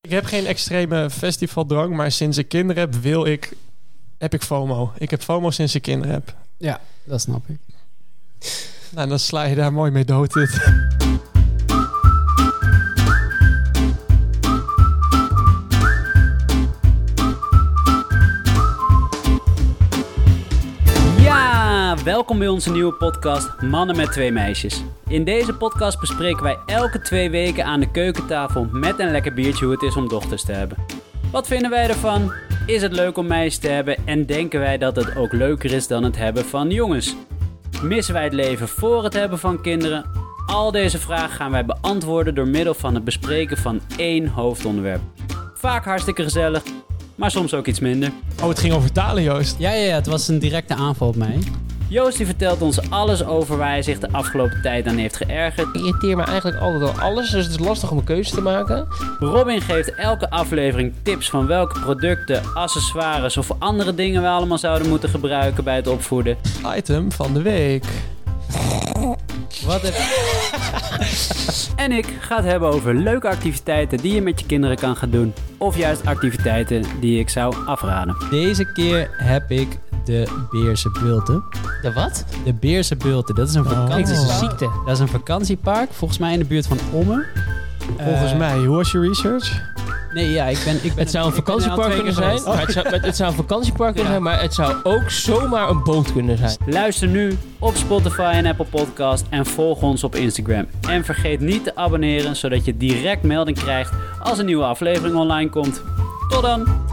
Ik heb geen extreme festivaldrang, maar sinds ik kinderen heb, wil ik, heb ik FOMO. Ik heb FOMO sinds ik kinderen heb. Ja, dat snap ik. Nou, dan sla je daar mooi mee dood. Dit. Ja, welkom bij onze nieuwe podcast Mannen met twee meisjes. In deze podcast bespreken wij elke twee weken aan de keukentafel met een lekker biertje hoe het is om dochters te hebben. Wat vinden wij ervan? Is het leuk om meisjes te hebben? En denken wij dat het ook leuker is dan het hebben van jongens? Missen wij het leven voor het hebben van kinderen? Al deze vragen gaan wij beantwoorden door middel van het bespreken van één hoofdonderwerp. Vaak hartstikke gezellig, maar soms ook iets minder. Oh, het ging over talen, Joost. Ja, ja, ja, het was een directe aanval op mij. Joost die vertelt ons alles over waar hij zich de afgelopen tijd aan heeft geërgerd. Ik irriteer me eigenlijk altijd al alles, dus het is lastig om een keuze te maken. Robin geeft elke aflevering tips van welke producten, accessoires of andere dingen we allemaal zouden moeten gebruiken bij het opvoeden. Item van de week. Wat heb En ik ga het hebben over leuke activiteiten die je met je kinderen kan gaan doen. Of juist activiteiten die ik zou afraden. Deze keer heb ik de Beerse Bulten. De wat? De Beerse Bulten, dat is een Ik is een vakantiepark. Oh. ziekte. Dat is een vakantiepark, volgens mij in de buurt van Ommen. Volgens Eh, mij, hoe was je research? Nee, ja, ik ben... Ik ben Het zou een ik ben er al vakantiepark twee kunnen keer zijn. geweest. maar Het zou, het- het zou een vakantiepark kunnen Ja. zijn, maar het zou ook zomaar een boot kunnen zijn. Luister nu op Spotify en Apple Podcast en volg ons op Instagram. En vergeet niet te abonneren zodat je direct melding krijgt als een nieuwe aflevering online komt. Tot dan!